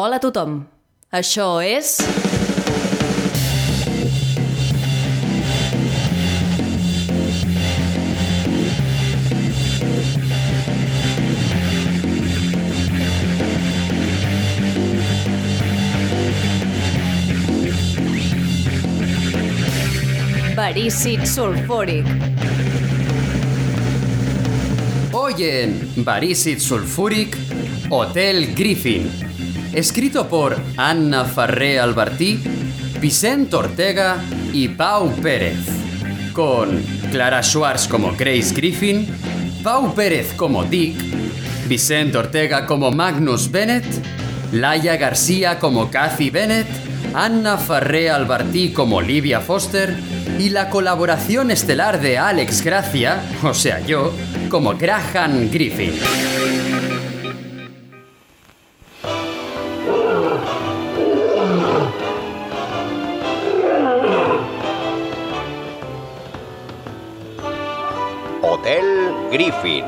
Hola a tothom. Això és... Verícid sulfúric. Hoy en Barícid Sulfuric, Hotel Griffin. Escrito por Anna Farré Albertí, Vicente Ortega y Pau Pérez. Con Clara Schwartz como Grace Griffin, Pau Pérez como Dick, Vicente Ortega como Magnus Bennett, Laia García como Kathy Bennett, Anna Farré Albertí como Olivia Foster y la colaboración estelar de Alex Gracia, o sea yo, como Graham Griffin. Hotel Griffin.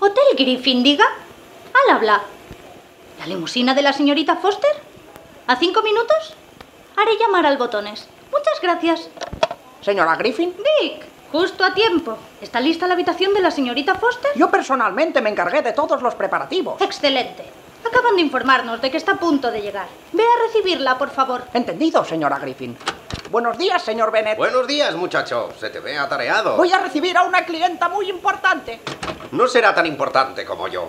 Hotel Griffin, diga. Al habla. ¿La limusina de la señorita Foster? ¿A cinco minutos? Haré llamar al botones. Muchas gracias. Señora Griffin, Dick, justo a tiempo. ¿Está lista la habitación de la señorita Foster? yo personalmente me encargué de todos los preparativos. Excelente. Acaban de informarnos de que está a punto de llegar. Ve a recibirla, por favor. Entendido, señora Griffin. Buenos días, señor Bennett. Buenos días, muchacho. Se te ve atareado. Voy a recibir a una clienta muy importante. No será tan importante como yo.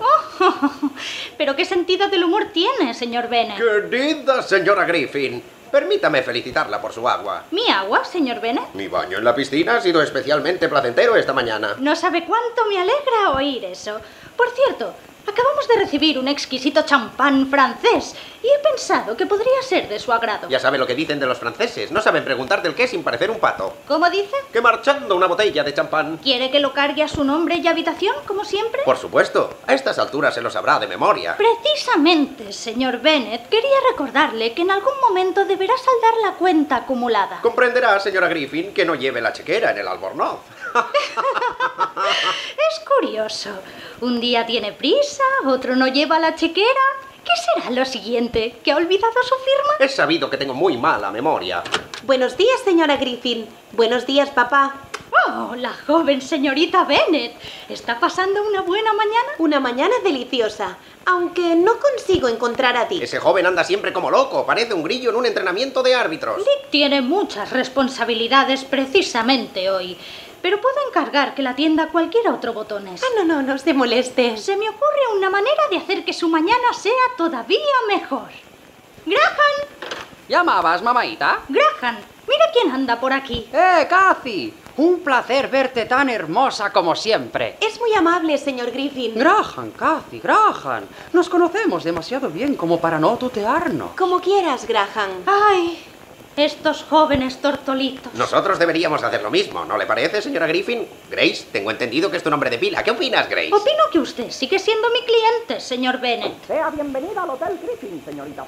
Pero qué sentido del humor tiene, señor Bennett. Querida señora Griffin, permítame felicitarla por su agua. ¿Mi agua, señor Bennett? Mi baño en la piscina ha sido especialmente placentero esta mañana. No sabe cuánto me alegra oír eso. Por cierto, acabamos de recibir un exquisito champán francés y he pensado que podría ser de su agrado. Ya sabe lo que dicen de los franceses. No saben preguntar del qué sin parecer un pato. ¿Cómo dice? Que marchando una botella de champán. ¿Quiere que lo cargue a su nombre y habitación, como siempre? Por supuesto, a estas alturas se lo sabrá de memoria. Precisamente, señor Bennett, quería recordarle que en algún momento deberá saldar la cuenta acumulada. Comprenderá, señora Griffin, que no lleve la chequera en el albornoz. Es curioso. Un día tiene prisa, otro no lleva la chequera. ¿Qué será lo siguiente? ¿Que ha olvidado su firma? Es sabido que tengo muy mala memoria. Buenos días, señora Griffin. Buenos días, papá. ¡Oh, la joven señorita Bennett! ¿Está pasando una buena mañana? Una mañana deliciosa, aunque no consigo encontrar a ti. Ese joven anda siempre como loco. Parece un grillo en un entrenamiento de árbitros. Dick tiene muchas responsabilidades precisamente hoy, pero puedo encargar que la atienda a cualquier otro botones. Ah, no, no, no se moleste. Se me ocurre una manera de hacer que su mañana sea todavía mejor. Graham, ¿Llamabas, mamaita? Graham, mira quién anda por aquí. ¡Eh, Kathy! Un placer verte tan hermosa como siempre. Es muy amable, señor Griffin. Graham, Kathy, Graham. Nos conocemos demasiado bien como para no tutearnos. Como quieras, Graham. Ay, estos jóvenes tortolitos. Nosotros deberíamos hacer lo mismo, ¿no le parece, señora Griffin? Grace, tengo entendido que es tu nombre de pila. ¿Qué opinas, Grace? Opino que usted sigue siendo mi cliente, señor Bennett. Sea bienvenida al Hotel Griffin, señorita.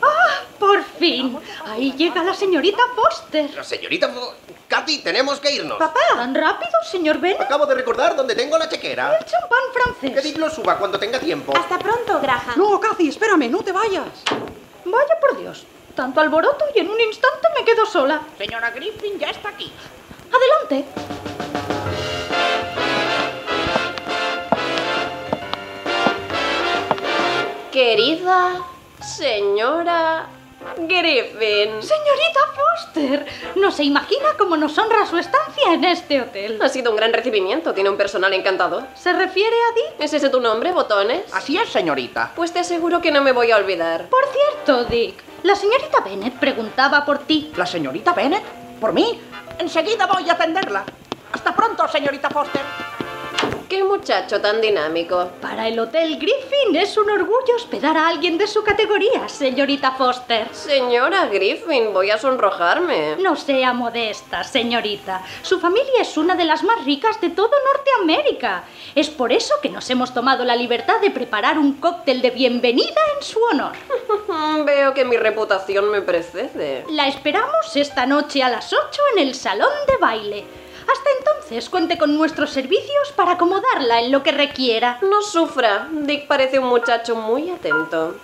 Por fin, ahí llega la señorita Foster. Pero, señorita Fo- Kathy, tenemos que irnos. ¿Tan rápido, señor Bennett? Acabo de recordar dónde tengo la chequera. El champán Que francés. Dick lo suba cuando tenga tiempo. Hasta pronto, Graham. No, Kathy, espérame, no te vayas. Vaya por Dios, tanto alboroto y en un instante me quedo sola. Señora Griffin ya está aquí. Adelante. Querida señora Griffin. Señorita Foster, no se imagina cómo nos honra su estancia en este hotel. Ha sido un gran recibimiento, tiene un personal encantador. ¿Se refiere a Dick? ¿Es ese tu nombre, botones? Ah. Así es, señorita. Pues te aseguro que no me voy a olvidar. Por cierto, Dick, la señorita Bennett preguntaba por ti. ¿La señorita Bennett? ¿Por mí? Enseguida voy a atenderla. Hasta pronto, señorita Foster. Qué muchacho tan dinámico. Para el Hotel Griffin es un orgullo hospedar a alguien de su categoría, señorita Foster. Señora Griffin, voy a sonrojarme. No sea modesta, señorita. Su familia es una de las más ricas de todo Norteamérica. Es por eso que nos hemos tomado la libertad de preparar un cóctel de bienvenida en su honor. Mm, Veo que mi reputación me precede. La esperamos esta noche a las 8 en el salón de baile. Hasta entonces cuente con nuestros servicios para acomodarla en lo que requiera. No sufra, Dick parece un muchacho muy atento.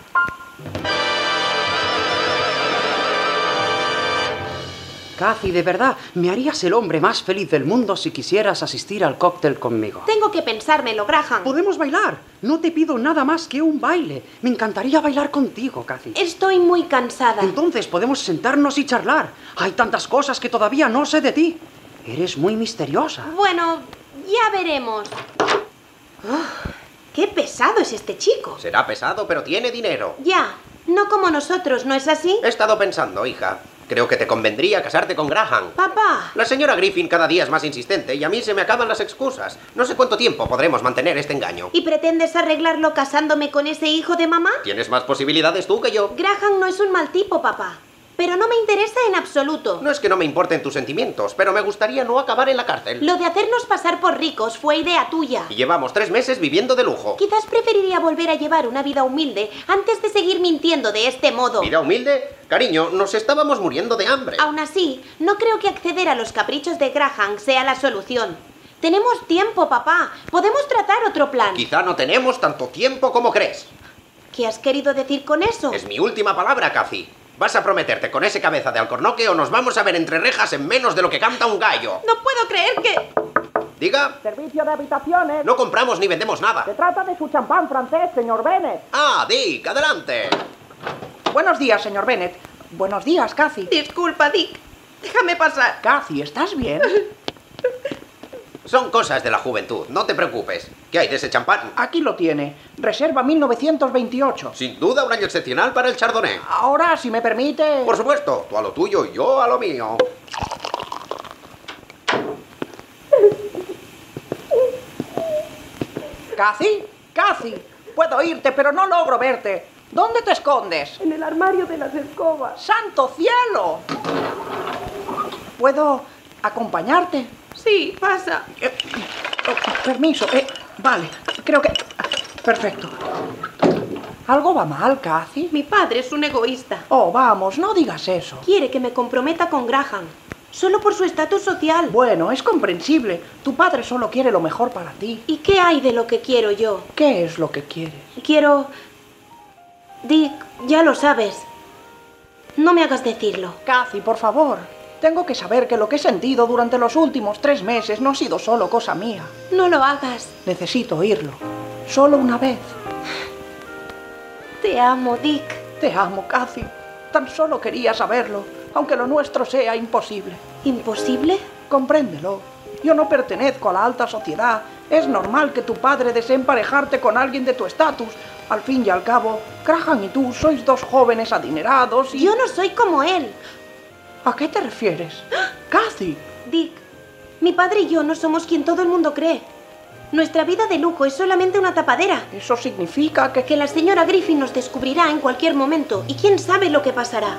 Kathy, de verdad, me harías el hombre más feliz del mundo si quisieras asistir al cóctel conmigo. Tengo que pensármelo, Graham. Podemos bailar. No te pido nada más que un baile. Me encantaría bailar contigo, Kathy. Estoy muy cansada. Entonces podemos sentarnos y charlar. Hay tantas cosas que todavía no sé de ti. Eres muy misteriosa. Bueno, ya veremos. Uf, qué pesado es este chico. Será pesado, pero tiene dinero. Ya, no como nosotros, ¿no es así? He estado pensando, hija. Creo que te convendría casarte con Graham. Papá. La señora Griffin cada día es más insistente y a mí se me acaban las excusas. No sé cuánto tiempo podremos mantener este engaño. ¿Y pretendes arreglarlo casándome con ese hijo de mamá? Tienes más posibilidades tú que yo. Graham no es un mal tipo, papá. Pero no me interesa en absoluto. No es que no me importen tus sentimientos, pero me gustaría no acabar en la cárcel. Lo de hacernos pasar por ricos fue idea tuya. Y llevamos tres meses viviendo de lujo. Quizás preferiría volver a llevar una vida humilde antes de seguir mintiendo de este modo. Vida humilde, cariño, nos estábamos muriendo de hambre. Aún así, no creo que acceder a los caprichos de Graham sea la solución. Tenemos tiempo, papá. Podemos tratar otro plan. Quizá no tenemos tanto tiempo como crees. ¿Qué has querido decir con eso? Es mi última palabra, Cathy. ¿Vas a prometerte con ese cabeza de alcornoque o nos vamos a ver entre rejas en menos de lo que canta un gallo? No puedo creer que... Diga, Servicio de habitaciones. no compramos ni vendemos Se nada. trata de su champán francés, señor Bennett. Ah, Dick, adelante. Buenos días, señor Bennett. Buenos días, Cathy. Disculpa, Dick. Déjame pasar. Cathy, ¿estás bien? Son cosas de la juventud, no te preocupes. ¿Qué hay de ese champán? Aquí lo tiene. Reserva 1928. Sin duda un año excepcional para el chardonnay. Ahora, si me permite... Por supuesto, tú a lo tuyo y yo a lo mío. Cathy, Cathy, puedo irte, pero no logro verte. ¿Dónde te escondes? En el armario de las escobas. ¡Santo cielo! ¿Puedo acompañarte? Sí, pasa. Eh, oh, permiso, eh, vale, creo que... Perfecto. ¿Algo va mal, Cathy? Mi padre es un egoísta. Oh, vamos, no digas eso. Quiere que me comprometa con Graham, solo por su estatus social. Bueno, es comprensible. Tu padre solo quiere lo mejor para ti. ¿Y qué hay de lo que quiero yo? ¿Qué es lo que quieres? Quiero... Dick, ya lo sabes. No me hagas decirlo. Cathy, por favor. Tengo que saber que lo que he sentido durante los últimos tres meses no ha sido solo cosa mía. No lo hagas. Necesito oírlo. Solo una vez. Te amo, Dick. Te amo, Cathy. Tan solo quería saberlo, aunque lo nuestro sea imposible. ¿Imposible? Compréndelo. Yo no pertenezco a la alta sociedad. Es normal que tu padre desee emparejarte con alguien de tu estatus. Al fin y al cabo, Graham y tú sois dos jóvenes adinerados y... Yo no soy como él. ¿A qué te refieres? Cathy. Dick, mi padre y yo no somos quien todo el mundo cree. Nuestra vida de lujo es solamente una tapadera. Eso significa que... Que la señora Griffin nos descubrirá en cualquier momento y quién sabe lo que pasará.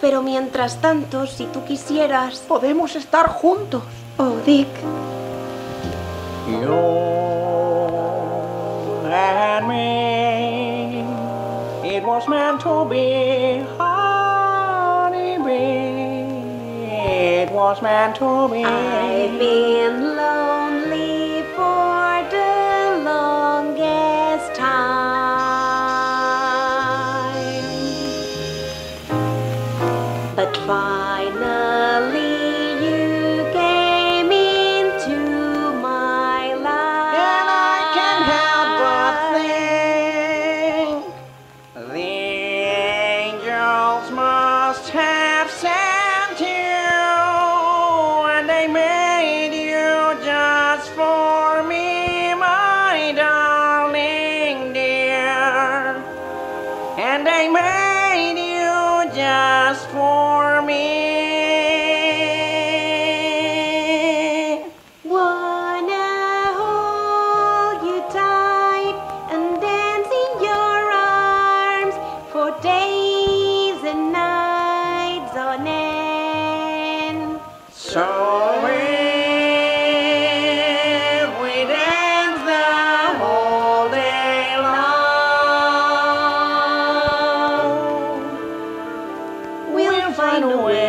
Pero mientras tanto, si tú quisieras... Podemos estar juntos. Oh, Dick. You and me, it was meant to be, honeybee. It was meant to be. I've been lonely for the longest time. But finally you came into my life. And I can't help but think And I made you just for me. Wanna hold you tight and dance in your arms for days and nights on end. So if we dance the whole day long, we'll find a way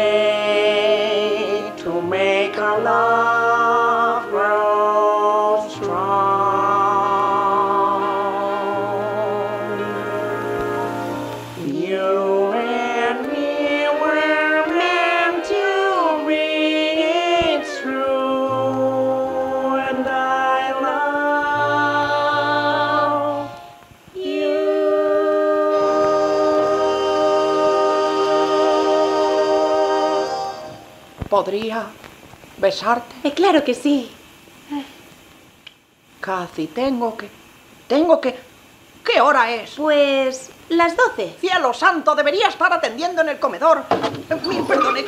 to make our love grow strong. You and me were meant to be, it's true, and I love you. ¿Podría besarte? Eh, claro que sí. Casi tengo que... Tengo que... ¿Qué hora es? Pues las 12. Cielo santo, debería estar atendiendo en el comedor. Eh, Mil perdones.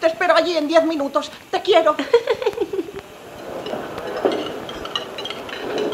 Te espero allí en diez minutos. Te quiero.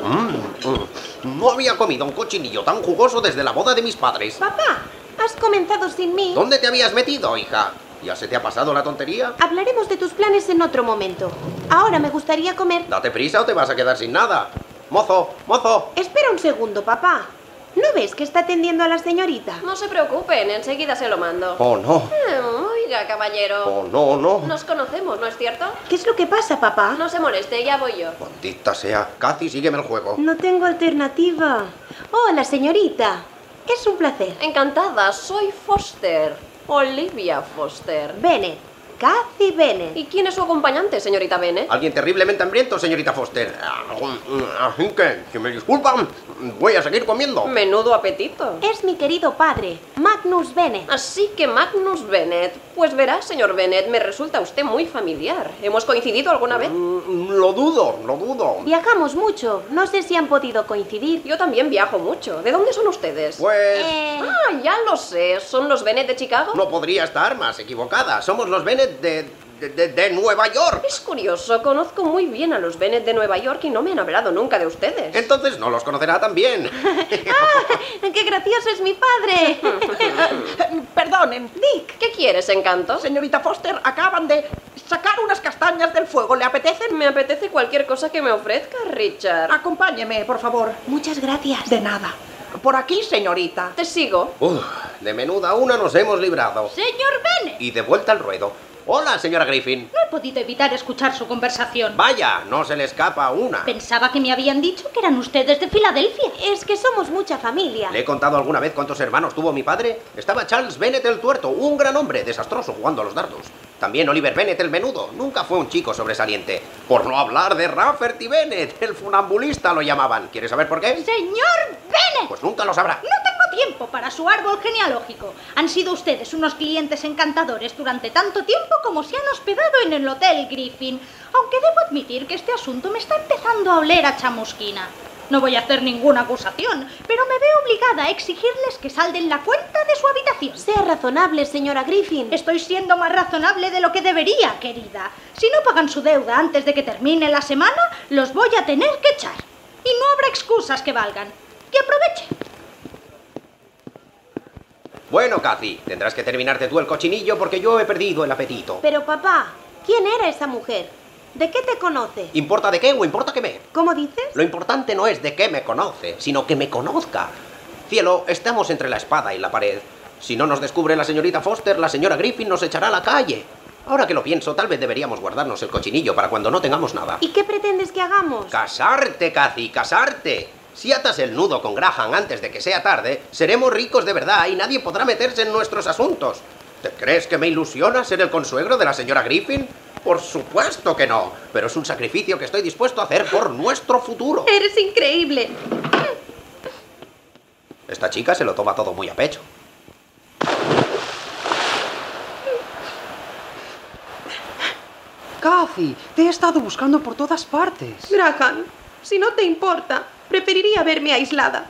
Mm, No había comido un cochinillo tan jugoso desde la boda de mis padres. Papá, has comenzado sin mí. ¿Dónde te habías metido, hija? ¿Ya se te ha pasado la tontería? Hablaremos de tus planes en otro momento. Ahora me gustaría comer. Date prisa o te vas a quedar sin nada. Mozo, mozo. Espera un segundo, papá. ¿No ves que está atendiendo a la señorita? No se preocupen, enseguida se lo mando. Oh, no. Eh, Oiga, caballero. Oh, no, no. Nos conocemos, ¿no es cierto? ¿Qué es lo que pasa, papá? No se moleste, ya voy yo. Maldita sea. Cathy, sígueme el juego. No tengo alternativa. Hola, señorita. Es un placer. Encantada, soy Foster. Olivia Foster. Bennett. Cathy Bennett. ¿Y quién es su acompañante, señorita Bene? Alguien terriblemente hambriento, señorita Foster. Así que, si me disculpan, voy a seguir comiendo. Menudo apetito. Es mi querido padre, Magnus Bennett. Así que Magnus Bennett. Pues verá, señor Bennett, me resulta usted muy familiar. ¿Hemos coincidido alguna vez? Mm, Lo dudo, lo dudo. Viajamos mucho. No sé si han podido coincidir. Yo también viajo mucho. ¿De dónde son ustedes? Pues... Eh, Ah, ya lo sé. ¿Son los Bennett de Chicago? No podría estar más equivocada. Somos los Bennett de, de, de- de Nueva York. Es curioso, conozco muy bien a los Bennett de Nueva York y no me han hablado nunca de ustedes. Entonces no los conocerá tan bien. ¡Qué gracioso es mi padre! Eh, Perdonen. Dick. ¿Qué quieres, encanto? Señorita Foster, acaban de sacar unas castañas del fuego. ¿Le apetecen? Me apetece cualquier cosa que me ofrezca, Richard. Acompáñeme, por favor. Muchas gracias. De nada. Por aquí, señorita. Te sigo. Uf, de menuda una nos hemos librado. Señor Bennett, Y de vuelta al ruedo. Hola, señora Griffin. no he podido evitar escuchar su conversación. Vaya, no se le escapa una. Pensaba que me habían dicho que eran ustedes de Filadelfia. Es que somos mucha familia. ¿Le he contado alguna vez cuántos hermanos tuvo mi padre? Estaba Charles Bennett el tuerto, un gran hombre, desastroso jugando a los dardos. También Oliver Bennett el menudo, nunca fue un chico sobresaliente. Por no hablar de Rafferty Bennett, el funambulista lo llamaban. ¿Quieres saber por qué? Señor Bennett, Pues nunca lo sabrá. no tengo tiempo para su árbol genealógico. Han sido ustedes unos clientes encantadores durante tanto tiempo como se han hospedado en el Hotel Griffin. Aunque debo admitir que este asunto me está empezando a oler a chamusquina. No voy a hacer ninguna acusación, pero me veo obligada a exigirles que salden la cuenta de su habitación. Sea razonable, señora Griffin. Estoy siendo más razonable de lo que debería, querida. Si no pagan su deuda antes de que termine la semana, los voy a tener que echar. Y no habrá excusas que valgan. Que aprovechen. Bueno, Kathy, tendrás que terminarte tú el cochinillo porque yo he perdido el apetito. Pero papá, ¿quién era esa mujer? ¿De qué te conoce? ¿Importa de qué o importa que me? ¿Cómo dices? Lo importante no es de qué me conoce, sino que me conozca. Cielo, estamos entre la espada y la pared. Si no nos descubre la señorita Foster, la señora Griffin nos echará a la calle. Ahora que lo pienso, tal vez deberíamos guardarnos el cochinillo para cuando no tengamos nada. ¿Y qué pretendes que hagamos? Casarte, Kathy, casarte. Si atas el nudo con Graham antes de que sea tarde, seremos ricos de verdad y nadie podrá meterse en nuestros asuntos. ¿Te crees que me ilusiona ser el consuegro de la señora Griffin? Por supuesto que no, pero es un sacrificio que estoy dispuesto a hacer por nuestro futuro. Eres increíble. Esta chica se lo toma todo muy a pecho. Cathy, te he estado buscando por todas partes. Graham, si no te importa, preferiría verme aislada.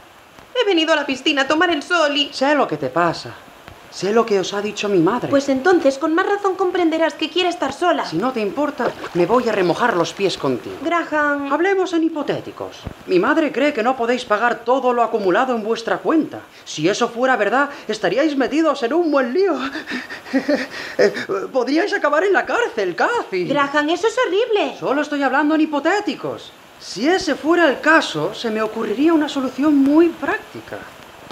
He venido a la piscina a tomar el sol y... Sé lo que te pasa. Sé lo que os ha dicho mi madre. Pues entonces, con más razón comprenderás que quiere estar sola. Si no te importa, me voy a remojar los pies contigo. Graham. Hablemos en hipotéticos. Mi madre cree que no podéis pagar todo lo acumulado en vuestra cuenta. Si eso fuera verdad, estaríais metidos en un buen lío. Podríais acabar en la cárcel, casi. Graham, eso es horrible. Solo estoy hablando en hipotéticos. Si ese fuera el caso, se me ocurriría una solución muy práctica.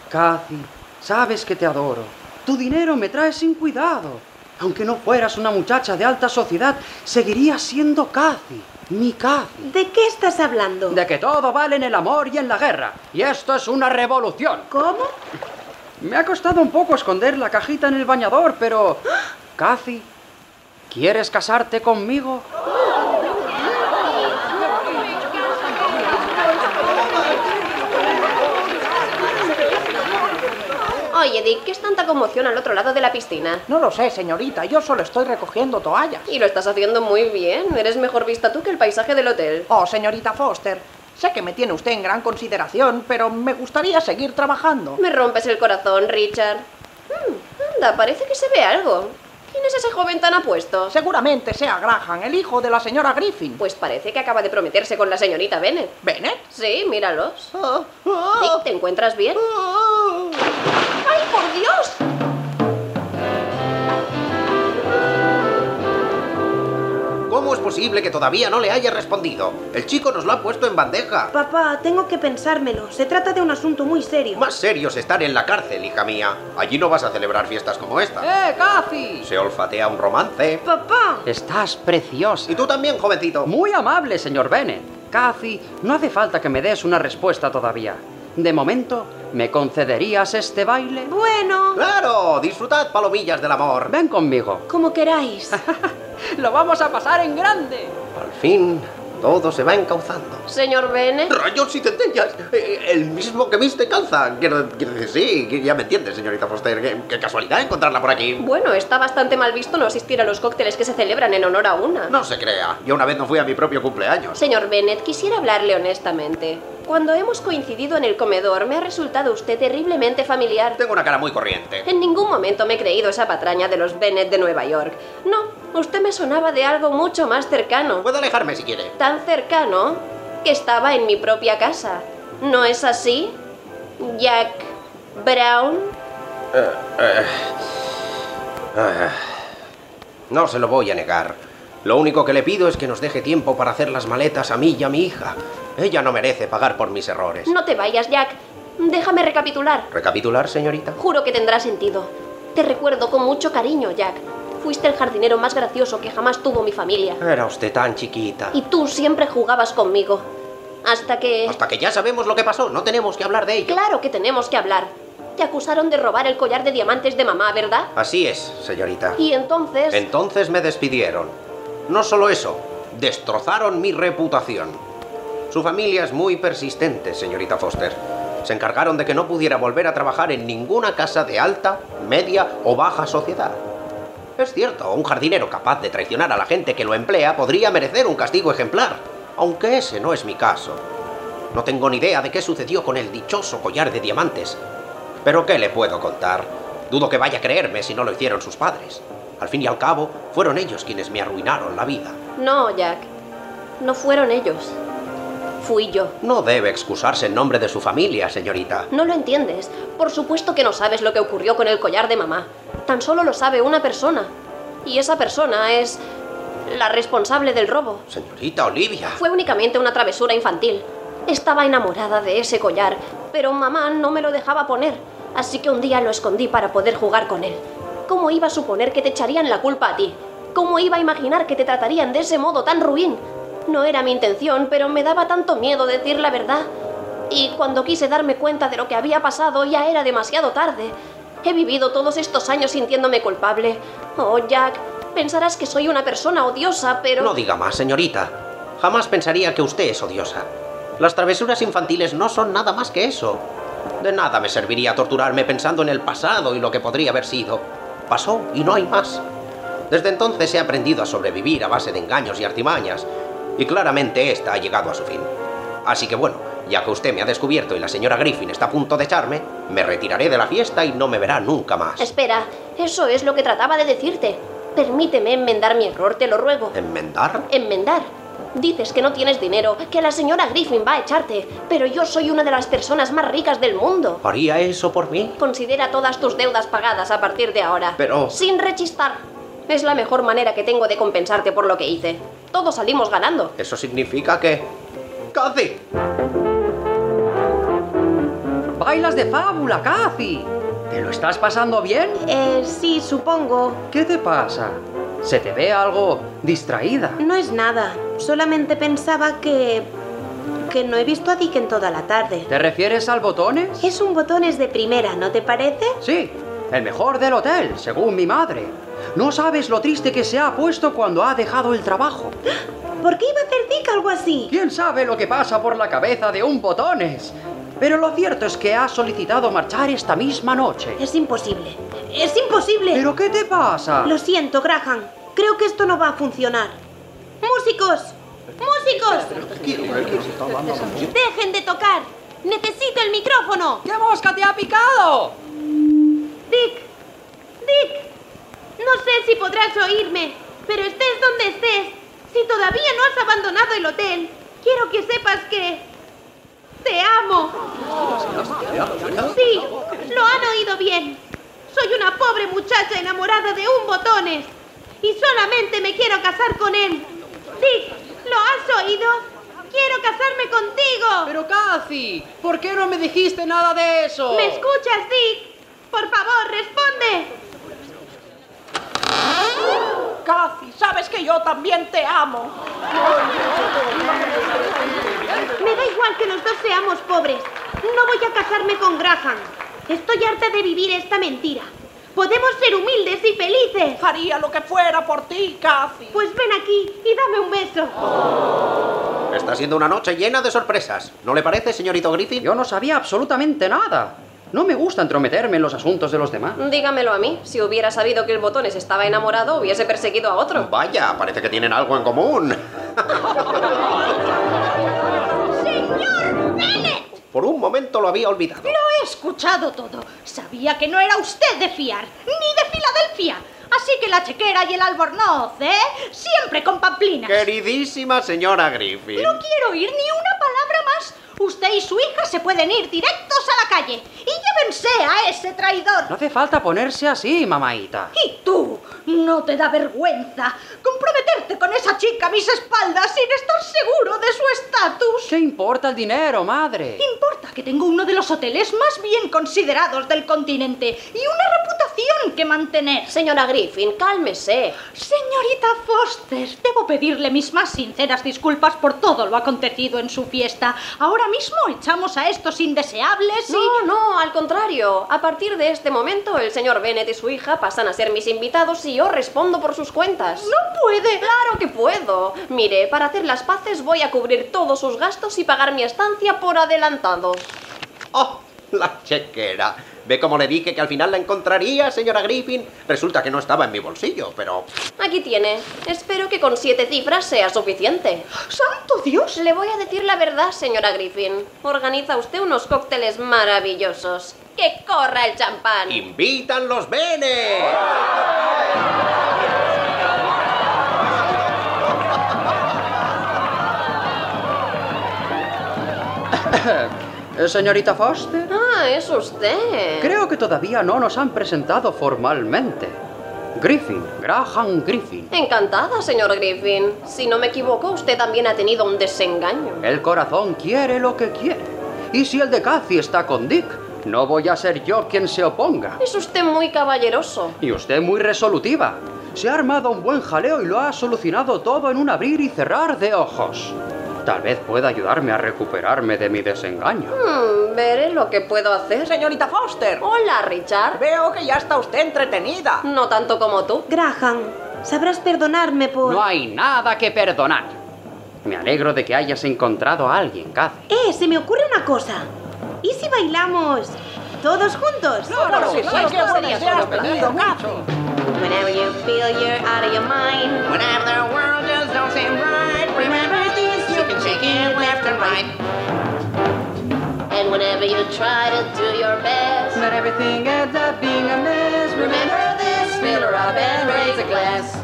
Kathy, sabes que te adoro. Tu dinero me trae sin cuidado. Aunque no fueras una muchacha de alta sociedad, seguirías siendo Kathy, mi Kathy. ¿De qué estás hablando? De que todo vale en el amor y en la guerra. Y esto es una revolución. ¿Cómo? Me ha costado un poco esconder la cajita en el bañador, pero... Kathy, ¿quieres casarte conmigo? Oye, Dick, ¿qué es tanta conmoción al otro lado de la piscina? No lo sé, señorita. Yo solo estoy recogiendo toallas. Y lo estás haciendo muy bien. Eres mejor vista tú que el paisaje del hotel. Oh, señorita Foster. Sé que me tiene usted en gran consideración, pero me gustaría seguir trabajando. Me rompes el corazón, Richard. Hmm, anda, parece que se ve algo. ¿Quién es ese joven tan apuesto? Seguramente sea Graham, el hijo de la señora Griffin. Pues parece que acaba de prometerse con la señorita Bennett. ¿Bennett? Sí, míralos. Oh, oh, Dick, ¿te encuentras bien? Oh, ¡Ay, por Dios! ¿Cómo es posible que todavía no le haya respondido? El chico nos lo ha puesto en bandeja. Papá, tengo que pensármelo. Se trata de un asunto muy serio. Más serio es estar en la cárcel, hija mía. Allí no vas a celebrar fiestas como esta. ¡Eh, Kathy! Se olfatea un romance. ¡Papá! Estás preciosa. Y tú también, jovencito. Muy amable, señor Bennett. Kathy, no hace falta que me des una respuesta todavía. De momento, ¿me concederías este baile? Bueno. Claro, disfrutad palomillas del amor. Ven conmigo. Como queráis. Ah, Lo vamos a pasar en grande. Al fin, todo se va encauzando. Señor Bene. Rayos y centellas. Eh, el mismo que viste calza. Quiero, quiero decir, sí, ya me entiendes, señorita Foster. Qué, qué, casualidad encontrarla por aquí. Bueno, está bastante mal visto no asistir a los cócteles que se celebran en honor a una. No se crea. Yo una vez no fui a mi propio cumpleaños. Señor Bennett, quisiera hablarle honestamente. Cuando hemos coincidido en el comedor, me ha resultado usted terriblemente familiar. Tengo una cara muy corriente. En ningún momento me he creído esa patraña de los Bennett de Nueva York. No, usted me sonaba de algo mucho más cercano. Puedo alejarme si quiere. Tan cercano que estaba en mi propia casa. ¿No es así? Jack Brown. Uh, uh, uh, no se lo voy a negar. Lo único que le pido es que nos deje tiempo para hacer las maletas a mí y a mi hija. Ella no merece pagar por mis errores. No te vayas, Jack. Déjame recapitular. ¿Recapitular, señorita? Juro que tendrá sentido. Te recuerdo con mucho cariño, Jack. Fuiste el jardinero más gracioso que jamás tuvo mi familia. Era usted tan chiquita. Y tú siempre jugabas conmigo. Hasta que... Hasta que ya sabemos lo que pasó. No tenemos que hablar de ello. Claro que tenemos que hablar. Te acusaron de robar el collar de diamantes de mamá, ¿verdad? Así es, señorita. Y entonces... Entonces me despidieron. No solo eso, destrozaron mi reputación. Su familia es muy persistente, señorita Foster. Se encargaron de que no pudiera volver a trabajar en ninguna casa de alta, media o baja sociedad. Es cierto, un jardinero capaz de traicionar a la gente que lo emplea podría merecer un castigo ejemplar, aunque ese no es mi caso. No tengo ni idea de qué sucedió con el dichoso collar de diamantes. Pero ¿qué le puedo contar? Dudo que vaya a creerme si no lo hicieron sus padres. Al fin y al cabo, fueron ellos quienes me arruinaron la vida. No, Jack. No fueron ellos fui yo. No debe excusarse en nombre de su familia, señorita. No lo entiendes. Por supuesto que no sabes lo que ocurrió con el collar de mamá. Tan solo lo sabe una persona. Y esa persona es la responsable del robo. Señorita Olivia. Fue únicamente una travesura infantil. Estaba enamorada de ese collar, pero mamá no me lo dejaba poner. Así que un día lo escondí para poder jugar con él. ¿Cómo iba a suponer que te echarían la culpa a ti? ¿Cómo iba a imaginar que te tratarían de ese modo tan ruin? No era mi intención, pero me daba tanto miedo decir la verdad. Y cuando quise darme cuenta de lo que había pasado, ya era demasiado tarde. He vivido todos estos años sintiéndome culpable. Oh, Jack, pensarás que soy una persona odiosa, pero... No diga más, señorita. Jamás pensaría que usted es odiosa. Las travesuras infantiles no son nada más que eso. De nada me serviría torturarme pensando en el pasado y lo que podría haber sido. Pasó y no hay más. Desde entonces he aprendido a sobrevivir a base de engaños y artimañas, y claramente esta ha llegado a su fin. Así que bueno, Ya que usted me ha descubierto y la señora Griffin está a punto de echarme, me retiraré de la fiesta y no me verá nunca más. Espera, eso es lo que trataba de decirte. Permíteme enmendar mi error, te lo ruego. Em- ¿Enmendar? Enmendar. Dices que no tienes dinero, que la señora Griffin va a echarte, pero yo soy una de las personas más ricas del mundo. ¿Haría eso por mí? Considera todas tus deudas pagadas a partir de ahora. Pero- Sin rechistar. Es la mejor manera que tengo de compensarte por lo que hice. Todos salimos ganando. Eso significa que... ¡Cathy! ¡Bailas de fábula, Kathy! ¿Te lo estás pasando bien? Eh, sí, supongo. ¿Qué te pasa? ¿Se te ve algo distraída? No es nada. Solamente pensaba que... que no he visto a Dick en toda la tarde. ¿Te refieres al botones? Es un botones de primera, ¿no te parece? Sí, el mejor del hotel, según mi madre. No sabes lo triste que se ha puesto cuando ha dejado el trabajo. ¿Por qué iba a hacer Dick algo así? ¿Quién sabe lo que pasa por la cabeza de un botones? Pero lo cierto es que ha solicitado marchar esta misma noche. Es imposible. ¡Es imposible! ¿Pero qué te pasa? Lo siento, Graham. Creo que esto no va a funcionar. ¡Músicos! ¡Músicos! ¡Dejen de tocar! ¡Necesito el micrófono! ¡Qué mosca te ha picado! Dick, Dick, no sé si podrás oírme, pero estés donde estés, si todavía no has abandonado el hotel, quiero que sepas que... Te amo. Sí, lo han oído bien. Soy una pobre muchacha enamorada de un botones y solamente me quiero casar con él. Dick, ¿lo has oído? Quiero casarme contigo. Pero Cathy, ¿por qué no me dijiste nada de eso? ¿Me escuchas, Dick? Por favor, responde. Cathy, sabes que yo también te amo. Me da igual que los dos seamos pobres. No voy a casarme con Graham. Estoy harta de vivir esta mentira. Podemos ser humildes y felices. Haría lo que fuera por ti, Cathy. Pues ven aquí y dame un beso. Está siendo una noche llena de sorpresas. ¿No le parece, señorito Griffin? Yo no sabía absolutamente nada. No me gusta entrometerme en los asuntos de los demás. Dígamelo a mí. Si hubiera sabido que el botones estaba enamorado, hubiese perseguido a otro. Vaya, parece que tienen algo en común. ¡Señor Bennett! Por un momento lo había olvidado. Lo he escuchado todo. Sabía que no era usted de fiar, ni de Filadelfia. Así que la chequera y el albornoz, ¿eh? Siempre con pamplinas. Queridísima señora Griffin. No quiero oír ni una palabra más. Usted y su hija se pueden ir directos a la calle. Y llévense a ese traidor. No hace falta ponerse así, mamaita. ¿Y tú? ¿No te da vergüenza comprometerte con esa chica a mis espaldas sin estar seguro de su estatus? ¿Qué importa el dinero, madre? Importa que tengo uno de los hoteles más bien considerados del continente y una reputación que mantener. Señora Griffin, cálmese. Señorita Foster, debo pedirle mis más sinceras disculpas por todo lo acontecido en su fiesta. Ahora mismo echamos a estos indeseables y... No, no, al contrario. A partir de este momento, el señor Bennett y su hija pasan a ser mis invitados y yo respondo por sus cuentas. ¡No puede! Claro que puedo. Mire, para hacer las paces voy a cubrir todos sus gastos y pagar mi estancia por adelantado. ¡Oh! La chequera. ¿Ve cómo le dije que al final la encontraría, señora Griffin? Resulta que no estaba en mi bolsillo, pero... Aquí tiene. Espero que con siete cifras sea suficiente. ¡Santo Dios! Le voy a decir la verdad, señora Griffin. Organiza usted unos cócteles maravillosos. ¡Que corra el champán! ¡Invitan los venes! Eh, Señorita Foster, Ah, es usted. creo que todavía no nos han presentado formalmente. Griffin, Graham Griffin. Encantada, señor Griffin. Si no me equivoco, usted también ha tenido un desengaño. El corazón quiere lo que quiere. Y si el de Cathy está con Dick, no voy a ser yo quien se oponga. Es usted muy caballeroso. Y usted muy resolutiva. Se ha armado un buen jaleo y lo ha solucionado todo en un abrir y cerrar de ojos. Tal vez pueda ayudarme a recuperarme de mi desengaño. Hmm, veré lo que puedo hacer. Señorita Foster, Hola, Richard. veo que ya está usted entretenida. No tanto como tú. Graham, sabrás perdonarme por... No hay nada que perdonar. Me alegro de que hayas encontrado a alguien, Cathy. Eh, se me ocurre una cosa. ¿Y si bailamos todos juntos? Claro, sí, claro, sí, claro, sería sí, solo claro, pedido, claro. Cathy. Whenever you feel you're out of your mind. Whenever the world just don't seem right, remember this, you can shake it left and right. Whenever you try to do your best, but everything ends up being a mess. Remember this, fill her up and raise a glass.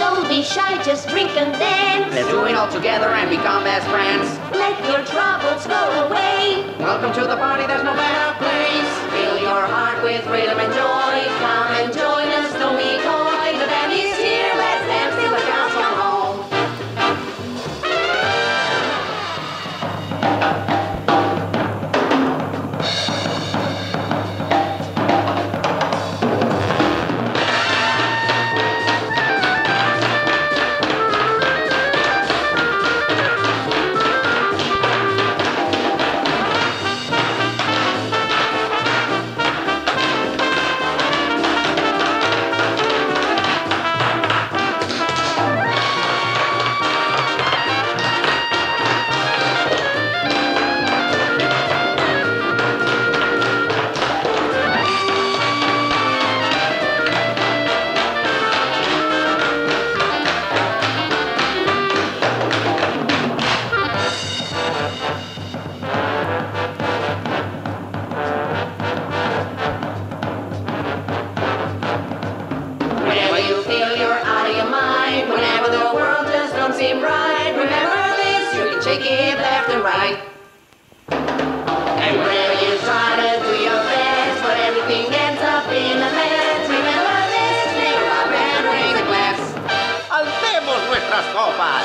Don't be shy, just drink and dance. Let's do it all together and become best friends. Let your troubles go away. Welcome to the party, there's no better place. Fill your heart with rhythm and joy. Come and join us, don't be coy. The band is here, let's dance till the cows come home. Whenever you feel you're out of your mind, whenever the world just don't seem right, remember this, you can shake it left and right. And whenever you try to do your best, but everything ends up in a mess, remember this, fill her up and raise a glass. ¡Alcemos nuestras copas!